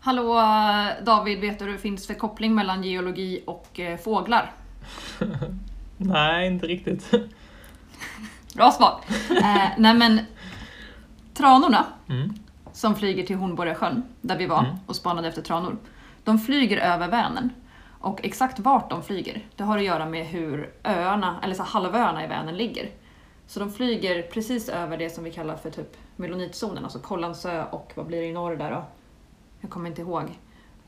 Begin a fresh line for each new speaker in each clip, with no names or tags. Hallå David, vet du vad det finns för koppling mellan geologi och eh, fåglar?
Nej, inte riktigt.
Bra svar! Eh, nej men, tranorna
Mm.
som flyger till Hornborgasjön, där vi var
Mm.
och spanade efter tranor, de flyger över Vänern. Och exakt vart de flyger, det har att göra med hur öarna, eller så här, halvöarna i Vänern ligger. Så de flyger precis över det som vi kallar för typ melonitzonen, alltså Kållandsö och vad blir det i norr där då? Jag kommer inte ihåg.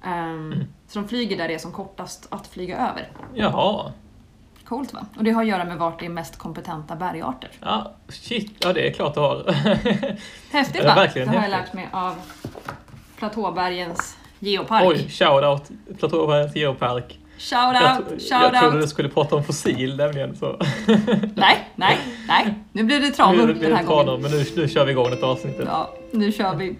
Ehm,
Mm.
Så de flyger där det är som kortast att flyga över.
Jaha.
Coolt va? Och det har att göra med vart det är mest kompetenta bergarter.
Ja, shit. Ja, det är klart du har.
Häftigt
Ja,
va?
verkligen
det har jag
häftigt.
lärt mig av Platåbergens geopark.
Oj, shoutout. Platåbergets geopark.
Shout
Jag,
out,
tro-
shout
jag trodde du
out.
skulle prata om fossil nämligen. Så.
Nej, nej, nej. Nu blir det
Nu
tranor
blir det
den här
tranor,
gången.
men nu, nu kör vi igång detta avsnittet.
Ja, nu kör vi.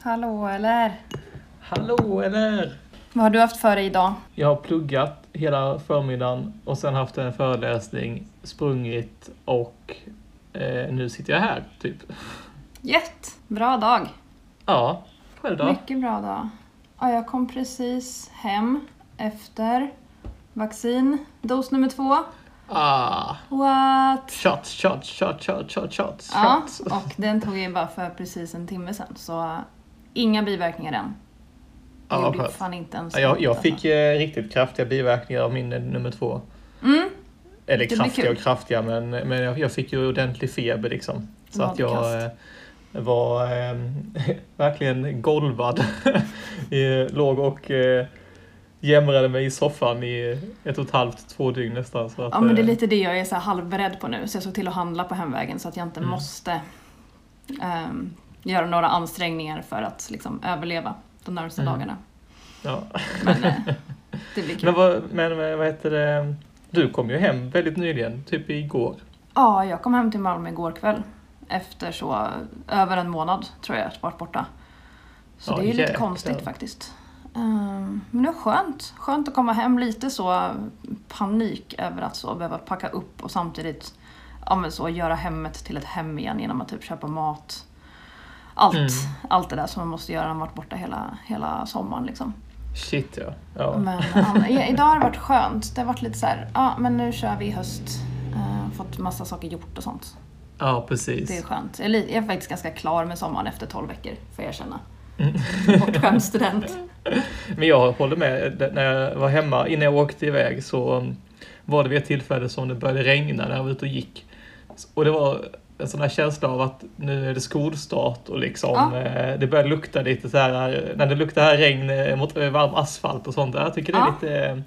Hallå eller?
Hallå eller?
Vad har du haft för dig idag?
Jag har pluggat hela förmiddagen och sen haft en föreläsning, sprungit och eh, nu sitter jag här, typ.
Jätt! Bra dag.
Ja, själv då?
Mycket bra dag. Ja, jag kom precis hem efter vaccin, dos nummer två.
Ah,
What?
shots, shots, shots, shots, shots, shots.
Ja,
shots.
och den tog jag in bara för precis en timme sedan. Så eh, inga biverkningar än. Det
Ja, vad
gjorde
skönt.
fan inte ens
Ja, Jag, jag
ont,
fick
alltså.
eh, riktigt kraftiga biverkningar av min eh, nummer två.
Mm,
Eller
blir
kraftiga
kul.
och kraftiga, men, men jag, jag fick ju ordentlig feber liksom. Så att jag eh,
Magkast.
var eh, verkligen golvad. Eh, Låg och eh, jämrade mig i soffan i ett och ett halvt, två dygn nästan. Så att,
ja men det är
eh,
lite det jag är så här halvberedd på nu. Så jag såg till att handla på hemvägen så att jag inte
Mm.
måste ehm, göra några ansträngningar för att liksom, överleva de närmsta
Mm.
dagarna.
ja.
Men eh, det blir kul.
Men, vad, men eh, vad heter det? Du kom ju hem väldigt nyligen, typ igår.
Ja, jag kom hem till Malmö igår kväll. Efter så över en månad tror jag att jag varit borta. Så
Ja,
det är ju lite
jäklar.
konstigt faktiskt. Ehm, Men det är skönt. Skönt att komma hem lite så panik över att så behöva packa upp och samtidigt ja, men så, göra hemmet till ett hem igen genom att typ köpa mat. Allt,
Mm.
allt det där som man måste göra när man varit borta hela, hela sommaren. Liksom.
Shit ja. ja.
Men an- i- idag har det varit skönt. Det har varit lite så här, ja men nu kör vi i höst. Eh, fått massa saker gjort och sånt.
Ja,
Det är
precis.
skönt. Jag är li- jag är faktiskt ganska klar med sommaren efter 12 veckor, får jag erkänna.
Mm.
Bortskämd student.
Men jag håller med. Det- När jag var hemma, innan jag åkte iväg, så um, var det vid ett tillfälle som det började regna när jag var ute och gick. S- Och det var en sån här känsla av att nu är det skolstart och liksom
Ja.
eh, det börjar lukta lite så här, eh, när det luktar här regn eh, mot eh, varm asfalt och sånt där. Jag tycker det är
Ja.
lite... eh,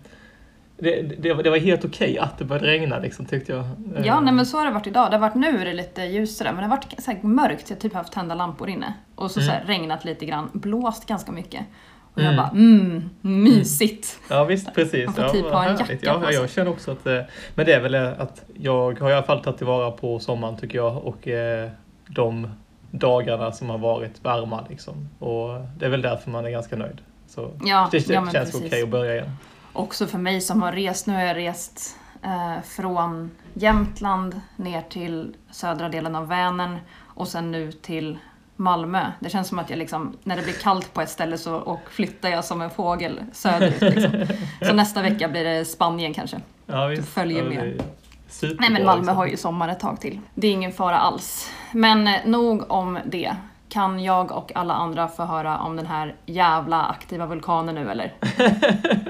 Det, det, var- det var helt okej att det började regna liksom, tyckte jag. Eh,
Ja, nej, men så har det varit idag. Det har varit nu är det lite ljusare, men det har varit så här mörkt. Jag har typ haft tända lampor inne. Och så, så här regnat lite grann, blåst ganska mycket. Och jag
Mm.
bara, mm, mysigt.
Ja visst, precis.
Man får
ja,
typ
vad
ha en
härligt.
jacka på
ja,
sig.
Jag känner också att, eh, men det är väl eh, att jag har i alla fall tagit tillvara på sommaren tycker jag och eh, de dagarna som har varit varma liksom. Och det är väl därför man är ganska nöjd. Så
Ja,
Mm. det kän-
ja, men
känns
precis.
okej att börja igen.
Också för mig som har rest, nu har jag rest eh, från Jämtland ner till södra delen av Vänern och sen nu till Malmö. Det känns som att jag liksom, när det blir kallt på ett ställe så och flyttar jag som en fågel söderut. Liksom. Så nästa vecka blir det Spanien kanske.
Ja,
följer
Ja, det
med.
är superbra,
Nej men Malmö
liksom.
har ju sommar ett tag till. Det är ingen fara alls. Men eh, nog om det. Kan jag och alla andra få höra om den här jävla aktiva vulkanen nu eller?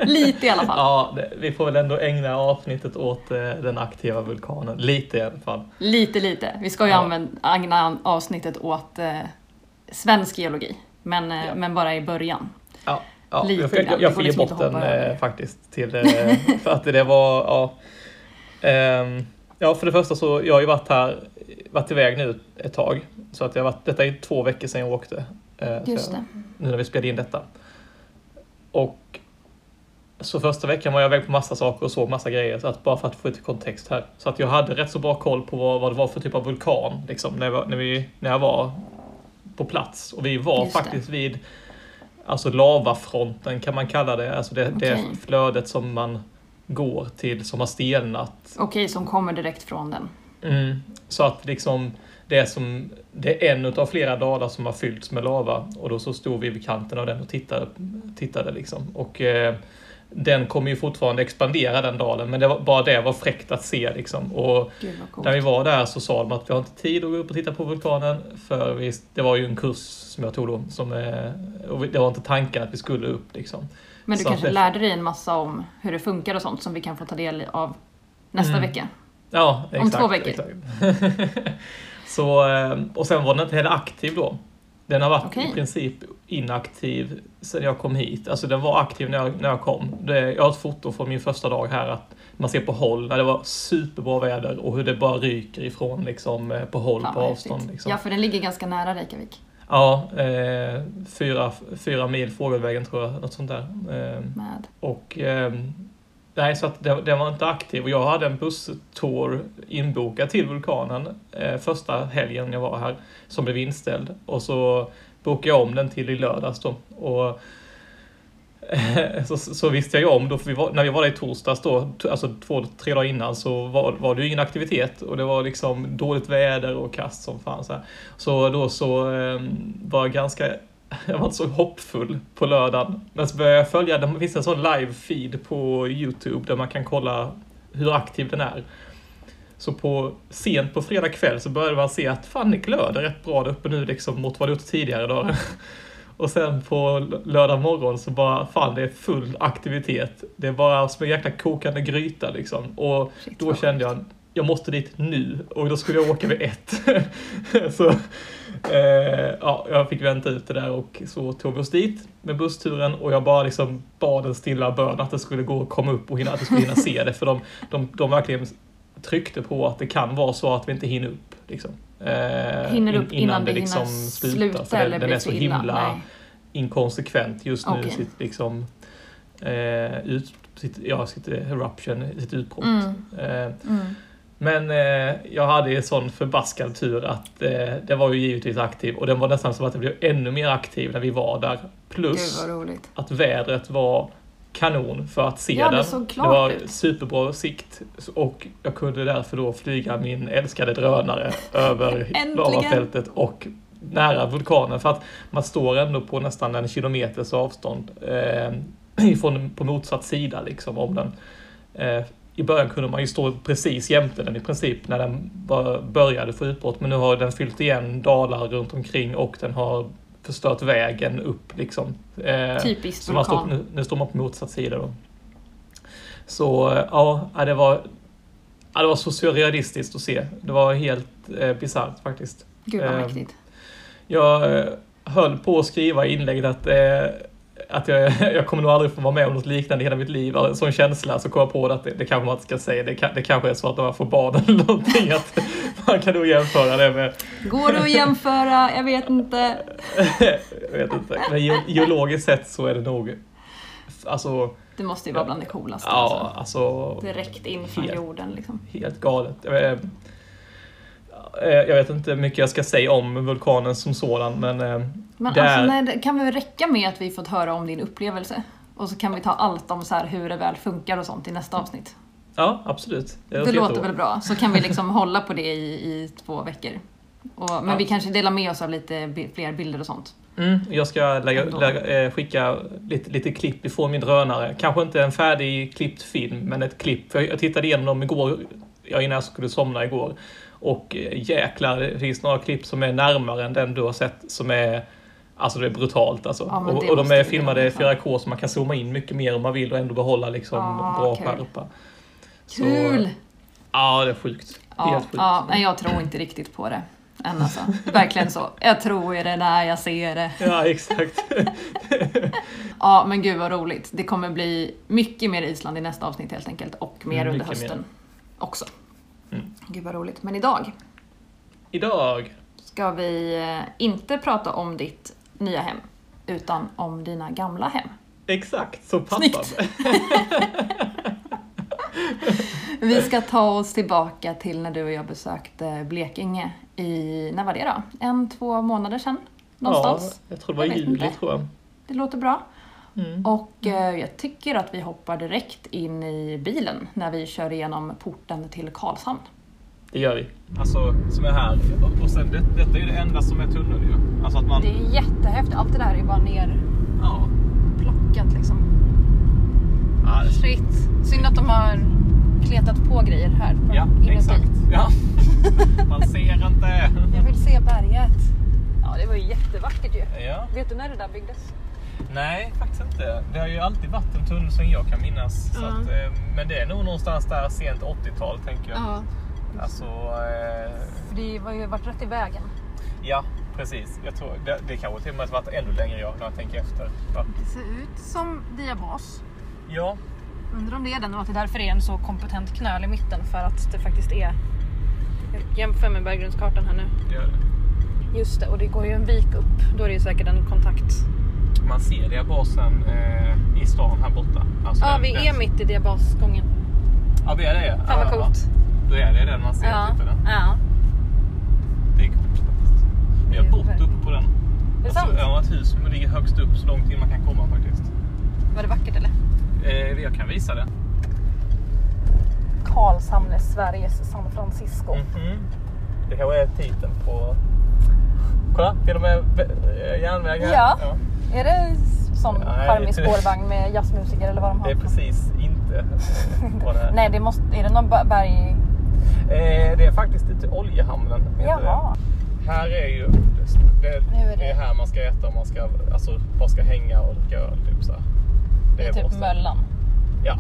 Lite i alla fall.
Ja, det, vi får väl ändå ägna avsnittet åt eh, den aktiva vulkanen. Lite i alla fall.
Lite, lite. Vi ska ju
Ja.
använda, ägna avsnittet åt eh, svensk geologi, men, eh,
Ja.
men bara i början.
Ja, ja
Lite
jag, får-
grann.
jag,
Det
jag
går
får ge
liksom
bort
inte att
den
hoppa över.
eh, faktiskt. Till, eh, för att det var, ja. Ehm, Ja, för det första så jag har ju varit här, varit iväg nu ett tag. Så att jag har varit, detta är två veckor sedan jag åkte. eh, så
Just
jag-
det.
Nu när vi spelade in detta. Och så första veckan var jag iväg på massa saker och såg massa grejer. Så att bara för att få lite kontext här. Så att jag hade rätt så bra koll på vad, vad det var för typ av vulkan. Liksom, när, jag, var- när, vi, när jag var på plats. Och vi var
Just det.
faktiskt vid alltså lavafronten kan man kalla det. Alltså det,
Okej.
det flödet som man går till som har stelnat
Okej, som kommer direkt från den.
Mm. Så att liksom det är, som, det är en av flera dalar som har fyllts med lava och då så stod vi vid kanten av den och tittade. tittade liksom. Och eh, den kommer ju fortfarande expandera den dalen men det var, bara det var fräckt att se liksom. Och
Gud vad coolt.
när vi var där så sa de att vi har inte tid att gå upp och titta på vulkanen för vi, det var ju en kurs som jag tog då som, eh, och vi- det var inte tanken att vi skulle upp liksom.
Men du
Så
kanske
att det-
lärde dig en massa om hur det funkar och sånt som vi kan få ta del av nästa
Mm.
vecka.
Ja,
Om
exakt.
två veckor.
Exakt. så, eh, och sen var den inte heller aktiv då. Den har varit
Okej.
i princip inaktiv sedan jag kom hit. Alltså den var aktiv när jag, när jag kom. Det, jag har ett foto från min första dag här att man ser på håll när det var superbra väder och hur det bara ryker ifrån liksom, eh, på håll
Fan,
på
vad
avstånd.
häftigt.
Liksom.
Ja, för den ligger ganska nära Reykjavik.
Ja, eh, fyra, fyra mil fågelvägen tror jag, något sånt där. Eh,
Med.
och ehm, nej, så att den, den var inte aktiv och jag hade en busstour inbokad till vulkanen eh, första helgen jag var här som blev inställd och så bokade jag om den till i lördags då. Och så, så visste jag ju om då, för vi var, när vi var där i torsdags då, t- alltså två, tre dagar innan, så var, var det ju ingen aktivitet och det var liksom dåligt väder och kast som fanns här. Så då så ehm, var jag ganska jag var inte så hoppfull på lördagen. Men så började jag följa, det finns en sån live-feed på YouTube där man kan kolla hur aktiv den är. Så på, sent på fredag kväll så började man se att fan det glöder rätt bra där uppe nu liksom mot vad det gjort tidigare dagar. Och sen på l- lördag morgon så bara fan det är full aktivitet. Det är bara som en jäkla kokande gryta liksom. Och
Shit,
då
vad
kände jag jag måste dit nu och då skulle jag åka vid ett. så, eh, ja, jag fick vänta ut det där och så tog vi oss dit med bussturen och jag bara liksom bad en stilla bön att det skulle gå att komma upp och hinna, att vi skulle hinna se det för de, de, de verkligen tryckte på att det kan vara så att vi inte hinner upp. Liksom. Eh,
Hinner
in-
upp innan, det liksom hinner sluta,
för
eller
den, den
blir
är så
för illa.
himla
Nej.
inkonsekvent just nu.
Okej.
Sitt, liksom, eh, ut, sitt, ja, sitt eh, eruption, sitt utbrott.
Mm,
Eh,
mm.
men eh, jag hade ju sån förbaskad tur att eh, det var ju givetvis aktiv och den var nästan som att det blev ännu mer aktiv när vi var där.
Gud
Plus
vad roligt.
att vädret var kanon för att se
Ja, det
den.
såg
det
klart
var
ut.
superbra sikt och jag kunde därför då flyga min älskade drönare över
Äntligen!
lavafältet och nära vulkanen för att man står ändå på nästan en kilometers avstånd eh, ifrån, på motsatt sida liksom om den. Eh, I början kunde man ju stå precis jämte den i princip när den bara började få utbrott men nu har den fyllt igen dalar runt omkring och den har förstört vägen upp liksom. Eh,
Typiskt
så man står,
vulkan.
nu, nu står man på motsatt sida då. Så eh, ja, ja, det var, ja, det var så surrealistiskt att se. Det var helt eh, bisarrt faktiskt.
Gud vad
eh,
mäktigt.
Jag eh, höll på att skriva i inlägget att, eh, att jag, jag kommer nog aldrig få vara med om något liknande i hela mitt liv. En sån känsla, så kom jag på det att det, det kanske man inte ska säga. Det, kan, det kanske är så att när man får barn eller någonting att man kan nog jämföra det med
Går det att jämföra? Jag vet inte.
jag vet inte. Men ge, geologiskt sett så är det nog Alltså,
Det måste ju vara bland det coolaste.
ja,
alltså.
alltså
Direkt in från
Helt.
jorden liksom.
helt galet. Jag, eh, eh, jag vet inte hur mycket jag ska säga om vulkanen som sådan, men eh,
Men
Där-
alltså, nej, det kan väl räcka med att vi fått höra om din upplevelse? Och så kan vi ta allt om så här hur det väl funkar och sånt i nästa avsnitt.
ja, absolut.
Det,
låter
låter
jättebra.
väl bra. Så kan vi liksom hålla på det i, i två veckor. Och, men
Ja.
vi kanske delar med oss av lite bi- fler bilder och sånt.
Mm, jag ska lägga,
Ändå.
lägga, eh, skicka lite, lite klipp ifrån min drönare. Kanske inte en färdig klippt film, men ett klipp. För jag tittade igenom dem igår, ja, innan jag skulle somna igår. Och eh, jäklar, det finns några klipp som är närmare än den du har sett som är Alltså det är brutalt alltså.
Ja, men det
och, och de
måste
är
vi
filmade i
göra. liksom.
4K så man kan zooma in mycket mer om man vill och ändå behålla liksom
Ah,
bra
kul.
skärpa. Så-
Kul!
Ja, det är sjukt.
Ja,
Helt sjukt.
ja, men jag tror inte riktigt på det. Än alltså. Verkligen så. Jag tror i det när jag ser det.
Ja, exakt.
Ja, men gud vad roligt. Det kommer bli mycket mer Island i nästa avsnitt helt enkelt. Och mer
Mm,
under
mycket
hösten också.
Mm.
gud vad roligt. Men idag
Idag!
ska vi eh, inte prata om ditt nya hem, utan om dina gamla hem.
Exakt, så pappan.
Snyggt. Vi ska ta oss tillbaka till när du och jag besökte Blekinge i, när var det då? En, två månader sedan? Någonstans?
Ja, jag tror det var i
Jag vet
juli
inte.
tror jag.
Det låter bra.
Mm.
Och eh, jag tycker att vi hoppar direkt in i bilen när vi kör igenom porten till Karlshamn.
Det gör vi.
Alltså som är här. Och sen det, detta är ju det enda som är tunnel ju. Alltså att man...
är jättehäftigt, allt det där är bara
Ja.
nerplockat liksom.
Ja, det-
Shit. Synd att de har kletat på grejer här
ja exakt. Ja. Man ser inte.
Jag vill se berget. Ja, det var ju jättevackert ju.
Ja.
Vet du när det där byggdes?
Nej, faktiskt inte. Det har ju alltid varit en tunnel som jag kan minnas. Så
Ja.
att, eh, men det är nog någonstans där sent 80-tal tänker jag.
Ja,
Alltså, eh,
för det var ju varit rätt i vägen.
ja precis. Jag tror, det, det kanske till och med har varit ännu längre jag, när jag tänker efter. Ja.
Det ser ut som diabas.
ja.
Undrar om det är den och att det därför är en så kompetent knöl i mitten för att det faktiskt är... Jag jämför med berggrundskartan här nu.
Gör det.
Just det, och det går ju en vik upp. Då är det ju säkert en kontakt.
Man ser diabasen eh, i stan här borta. Alltså
Ja,
den-
vi
den-
är mitt i diabasgången.
Ja, vi är det.
Fan vad
Ja, ja.
coolt.
Då är det den man ser.
Ja.
Typ, eller?
ja.
Det är coolt faktiskt. Vi har
Det är
bott
verkligen-
uppe på den.
Är det sant?
Alltså, ja, ett hus som ligger högst upp så långt in man kan komma faktiskt.
Var det vackert eller?
Eh, jag kan visa det.
Karlshamn är Sveriges San Francisco.
Mhm. Det här är titeln på... Kolla, till och med eh, järnväg här.
Ja. Är det sån
Nej,
charmig
det-
spårvagn med jazzmusiker eller vad de har?
Det är
för något?
precis inte eh, vad det är.
Nej, det måste, är det någon ba- berg...
Eh, det är faktiskt lite oljehamnen. heter
Jaha.
det. Här är ju... Det,
Nu är det-
det är här man ska äta och man ska, alltså, bara ska hänga och dricka öl. Typ, så här.
Det är
vårt
typ
ställe.
Möllan.
Ja,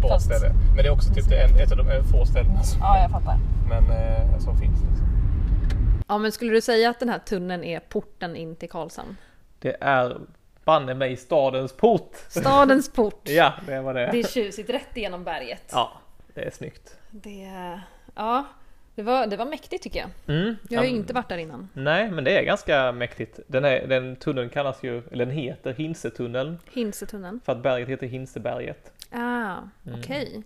bra
Fast-
ställe. Men det är också typ det en, ett av de få ställena som,
Ja, jag fattar.
men, eh, som finns. Liksom.
Ja men skulle du säga att den här tunneln är porten in till Karlshamn?
Det är banne mig stadens port.
Stadens port!
Ja, det var det.
Det är tjusigt rätt igenom berget.
Ja, det är snyggt.
Det, ja, det, var, det var mäktigt tycker jag.
Mm.
Jag har ju
Ja,
inte varit där innan.
Nej, men det är ganska mäktigt. Den, är, den tunneln kallas ju, eller den heter Hinsetunneln
Hinsetunneln.
för att berget heter Hinseberget. Mm.
Ah, okej.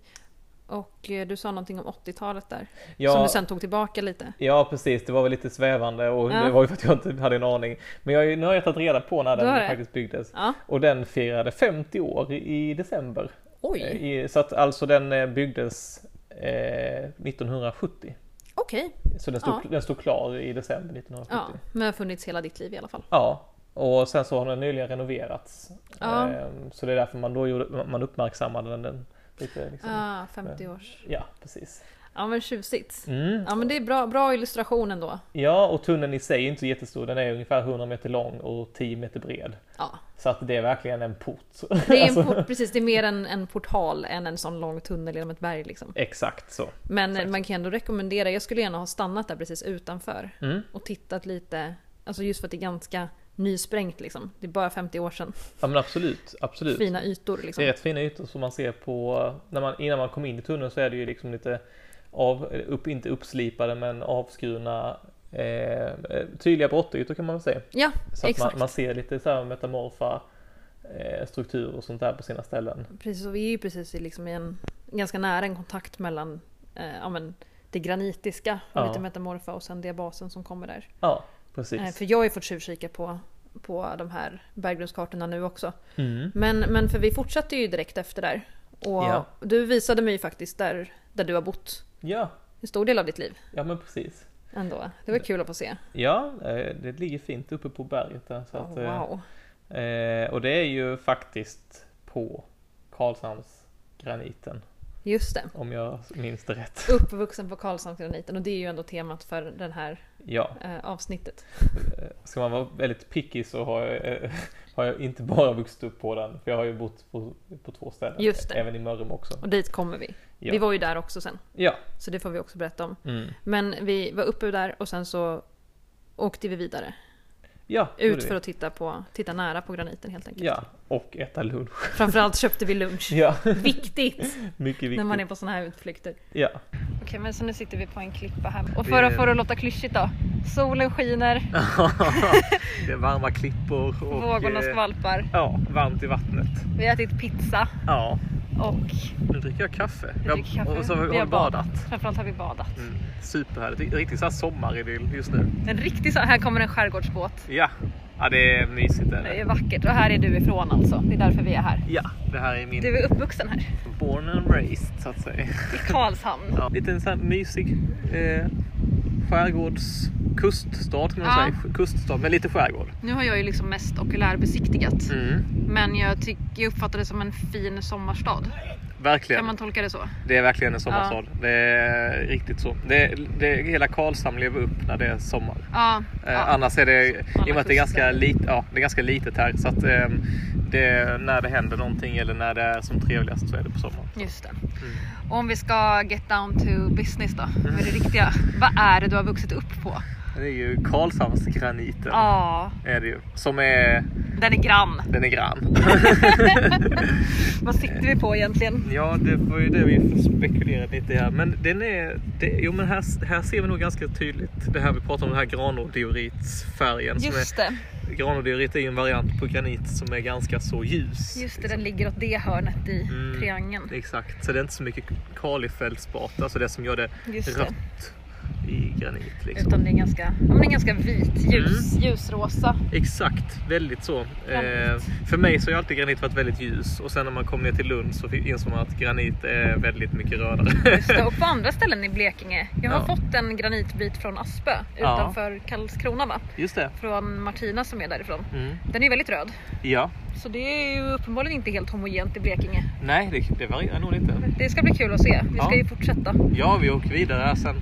Och eh, du sa någonting om 80-talet där.
Ja.
Som du sen tog tillbaka lite.
Ja precis, det var väl lite svävande och
Ja.
det var ju för att jag inte hade en aning. Men jag, har ju- nu har jag tagit reda på när
Du har det?
den faktiskt byggdes.
Ja.
Och den firade 50 år i i december.
Oj,
I, så att alltså den eh, byggdes eh, 1970.
okej.
Så den stod,
Ja.
den stod klar i december 1970.
Ja, men har funnits hela ditt liv i alla fall.
Ja, och sen så har den nyligen renoverats.
Ja.
Ehm, Så det är därför man då gjorde, man uppmärksammade den, den lite. Liksom.
Ah, 50 års.
Ja, precis.
Ja men tjusigt.
Mm.
Ja men det är bra, bra illustration ändå.
Ja, och tunneln i sig är inte så jättestor. Den är ungefär 100 meter lång och 10 meter bred.
Ja,
Så att det är verkligen en port.
det är, en
Alltså,
port, precis, det är mer en, en portal än en sån lång tunnel genom ett berg liksom.
Exakt så.
Men eh, man kan ändå rekommendera, jag skulle gärna ha stannat där precis utanför
Mm.
och tittat lite, alltså just för att det är ganska nysprängt liksom. Det är bara 50 år sedan.
Ja men absolut, absolut.
Fina ytor liksom.
Det är rätt fina ytor som man ser på, när man, innan man kom in i tunneln så är det ju liksom lite av, upp, inte uppslipade men avskurna eh, tydliga brottytor kan man väl säga.
Ja,
Så att
exakt.
man, man ser lite så här metamorfa eh, strukturer och sånt där på sina ställen.
Precis, och vi är ju precis i, liksom, i en, ganska nära en kontakt mellan eh, ja, men, det granitiska och
Ja.
lite metamorfa och sen diabasen som kommer där.
Ja,
Eh,
precis.
för jag har ju fått tjuvkika på, på de här berggrundskartorna nu också.
Mm.
Men, men för vi fortsatte ju direkt efter där. Och
Ja.
du visade mig ju faktiskt där, där du har bott
Ja,
en stor del av ditt liv.
ja men precis.
Ändå. Det var kul att få se.
Ja, eh, det ligger fint uppe på berget där. Så att,
Oh,
eh,
wow.
eh, och det är ju faktiskt på Karlshamnsgraniten,
Just det.
om jag minns det rätt.
Uppvuxen på Karlshamnsgraniten och det är ju ändå temat för det här
Ja,
eh, avsnittet.
eh, ska man vara väldigt picky så har jag, eh, har jag inte bara vuxit upp på den, för jag har ju bott på, på två ställen.
Just det.
Även i Mörrum också.
Och dit kommer vi.
Ja.
Vi var ju där också sen.
Ja.
Så det får vi också berätta om.
Mm.
Men vi var uppe där och sen så åkte vi vidare.
Ja, det gjorde
Ut
vi.
för att titta, på, titta nära på graniten helt enkelt.
Ja, och äta lunch.
Framförallt köpte vi lunch.
Ja,
Viktigt,
mycket viktigt.
när man är på sådana här utflykter.
Ja.
Okej, men så nu sitter vi på en klippa här. Och
Vi-
för att få det att låta klyschigt då. Solen skiner,
det är varma klippor och
vågorna
eh,
skvalpar.
Ja, varmt i vattnet.
Vi har ätit pizza
Ja,
och
nu dricker jag kaffe.
vi
Jag-
dricker kaffe.
Och så har vi,
Vi
har vi badat.
Framförallt har vi badat.
Mm, superhärligt. Riktigt så här sommaridyll just nu.
En riktig sån, här kommer en skärgårdsbåt.
Ja, ja det är mysigt. Är
Det
det.
är vackert och här är du ifrån alltså. Det är därför vi är här.
Ja, det här är min
Du är uppvuxen här,
born and raised så att säga.
i Karlshamn.
Ja. Lite en sån här mysig eh, skärgårds kuststad kan man
Ja.
säga. Kuststad med lite skärgård.
Nu har jag ju liksom mest okulärbesiktigat.
Mm,
Men jag, tyck, jag uppfattar det som en fin sommarstad. Kan
verkligen.
man tolka det så?
Det är verkligen en sommarstad. Det är riktigt så. Det, det, hela Karlshamn lever upp när det är sommar.
Ja.
Eh,
ja.
Annars är det,
Alla
i och med att det är, ganska
kuster.
lit, ja, det är ganska litet här, så att ehm, det, när det händer någonting eller när det är som trevligast så är det på sommaren.
Just det.
Mm.
Och om vi ska get down to business då. Vad är det riktiga? Vad är det du har vuxit upp på?
Det är ju Karlshamnsgraniten.
Ja,
Är det ju, som är,
den är grann.
den är grann.
Vad sitter vi på egentligen?
Ja, det var ju det vi spekulerade lite här. Men den är... Det, jo, men här, här ser vi nog ganska tydligt det här vi pratar om, den här granodioritsfärgen. som
Just det,
är- Granodiorit är ju en variant på granit som är ganska så ljus.
just det, den ligger åt det hörnet i
Mm.
triangeln.
Exakt, så det är inte så mycket kalifeldspat, alltså det som gör det
Just det.
rött i granit. Liksom.
Utan det är ganska, ja, men det är ganska vit, ljus,
Mm.
ljusrosa.
Exakt, väldigt så. Eh,
Granit.
för mig så har ju alltid granit varit väldigt ljus och sen när man kom ner till Lund så fick- insåg man att granit är väldigt mycket rödare.
Just det. Och på andra ställen i Blekinge. Jag har
Ja.
fått en granitbit från Aspö
Ja.
utanför Karlskrona va?
Just det.
Från Martina som är därifrån.
Mm.
Den är väldigt röd.
Ja,
Så det är ju uppenbarligen inte helt homogent i Blekinge.
nej det, det varierar nog lite.
Det ska bli kul att se. Vi ska
Ja.
ju fortsätta.
Ja, vi åker vidare här sen.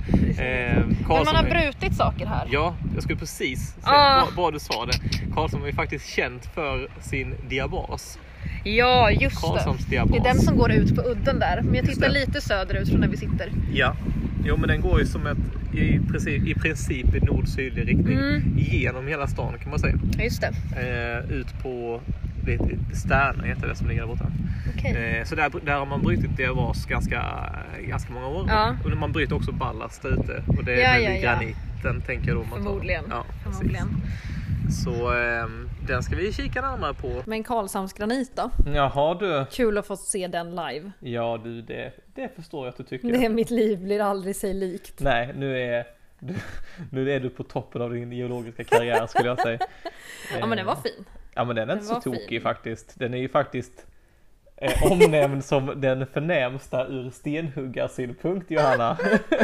Eh,
Men
Karlsson
man har
är-
brutit saker här.
Ja, jag skulle precis säga,
Ah.
bra, bra du sa det. Karlsson är faktiskt känt för sin diabas.
Ja, just det.
Karlssons
Det
diabas.
är den som går ut på udden där. Men jag
Just
tittar
det.
lite söderut från där vi sitter.
Ja. Jo men den går ju som ett, i princip i, princip i nord-sydlig riktning
Mm.
genom hela stan kan man säga.
Ja, just det.
Eh, ut på det heter- Stärna heter det som ligger där borta.
Okej.
Eh, så där, där har man brutit diabas ganska, ganska många år.
Ja.
Och man bryter också ballast där ute och det är
Ja,
väl
ja,
i
ja.
graniten tänker jag då. man tar.
Förmodligen.
Ja, precis.
Förmodligen.
Så ehm, den ska vi kika närmare på.
Men Karlshamnsgranit då?
Jaha du.
Kul att få se den live.
Ja du, det, det förstår jag att du tycker.
Det är mitt liv blir aldrig sig likt.
Nej, nu är, du, nu är du på toppen av din geologiska karriär skulle jag säga.
Ja men den var fin.
Ja men den är
den
inte
var
så
fin.
tokig faktiskt. Den är ju faktiskt eh, omnämnd som den förnämsta ur stenhuggarsynpunkt Johanna.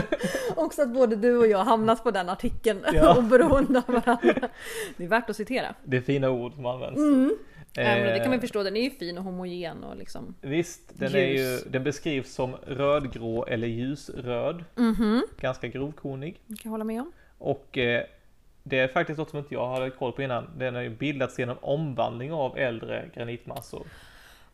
Också att både du och jag hamnat på den artikeln
Ja.
oberoende av varandra. Det är värt att citera.
Det är fina ord som används.
Mm. Ja, men det kan man
Eh,
ju förstå, den är ju fin och homogen och liksom.
Visst, den, är ju,
Ljus.
den beskrivs som rödgrå eller ljusröd.
Mhm.
Ganska grovkornig.
Det kan jag hålla med om.
Och eh, det är faktiskt något som inte jag hade koll på innan. Den har ju bildats genom omvandling av äldre granitmassor.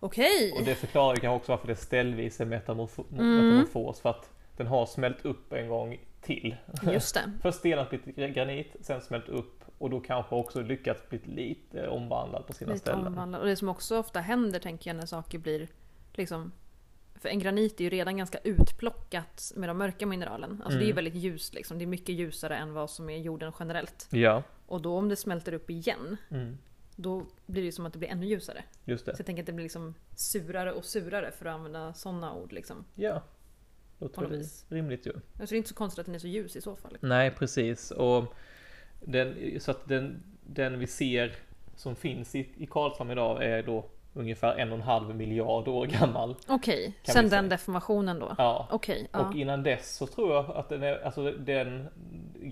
Okej!
Och det förklarar ju kanske också varför det ställvis är metamorfo-
Mm.
metamorfos. För att den har smält upp en gång till.
Just det.
Först stenat blivit granit, sen smält upp och då kanske också lyckats bli lite omvandlad på sina
Lite
ställen.
omvandlad. Och det som också ofta händer tänker jag när saker blir liksom för en granit är ju redan ganska utplockat med de mörka mineralen. Alltså det är ju
Mm.
väldigt ljust liksom. Det är mycket ljusare än vad som är jorden generellt.
Ja,
Och då om det smälter upp igen,
Mm.
då blir det ju som att det blir ännu ljusare.
just det.
Så jag tänker att det blir liksom surare och surare för att använda sådana ord liksom.
Ja, låter
På något
väl
vis.
rimligt ju.
Alltså det är inte så konstigt att den är så ljus i så fall.
Nej, precis. Och den, så att den, den vi ser som finns i, i Karlshamn idag är då ungefär en och en halv miljard år gammal.
Okej,
vi
sen
säga.
den deformationen då.
Ja.
Okej, ja.
Och innan dess så tror jag att den, är, alltså den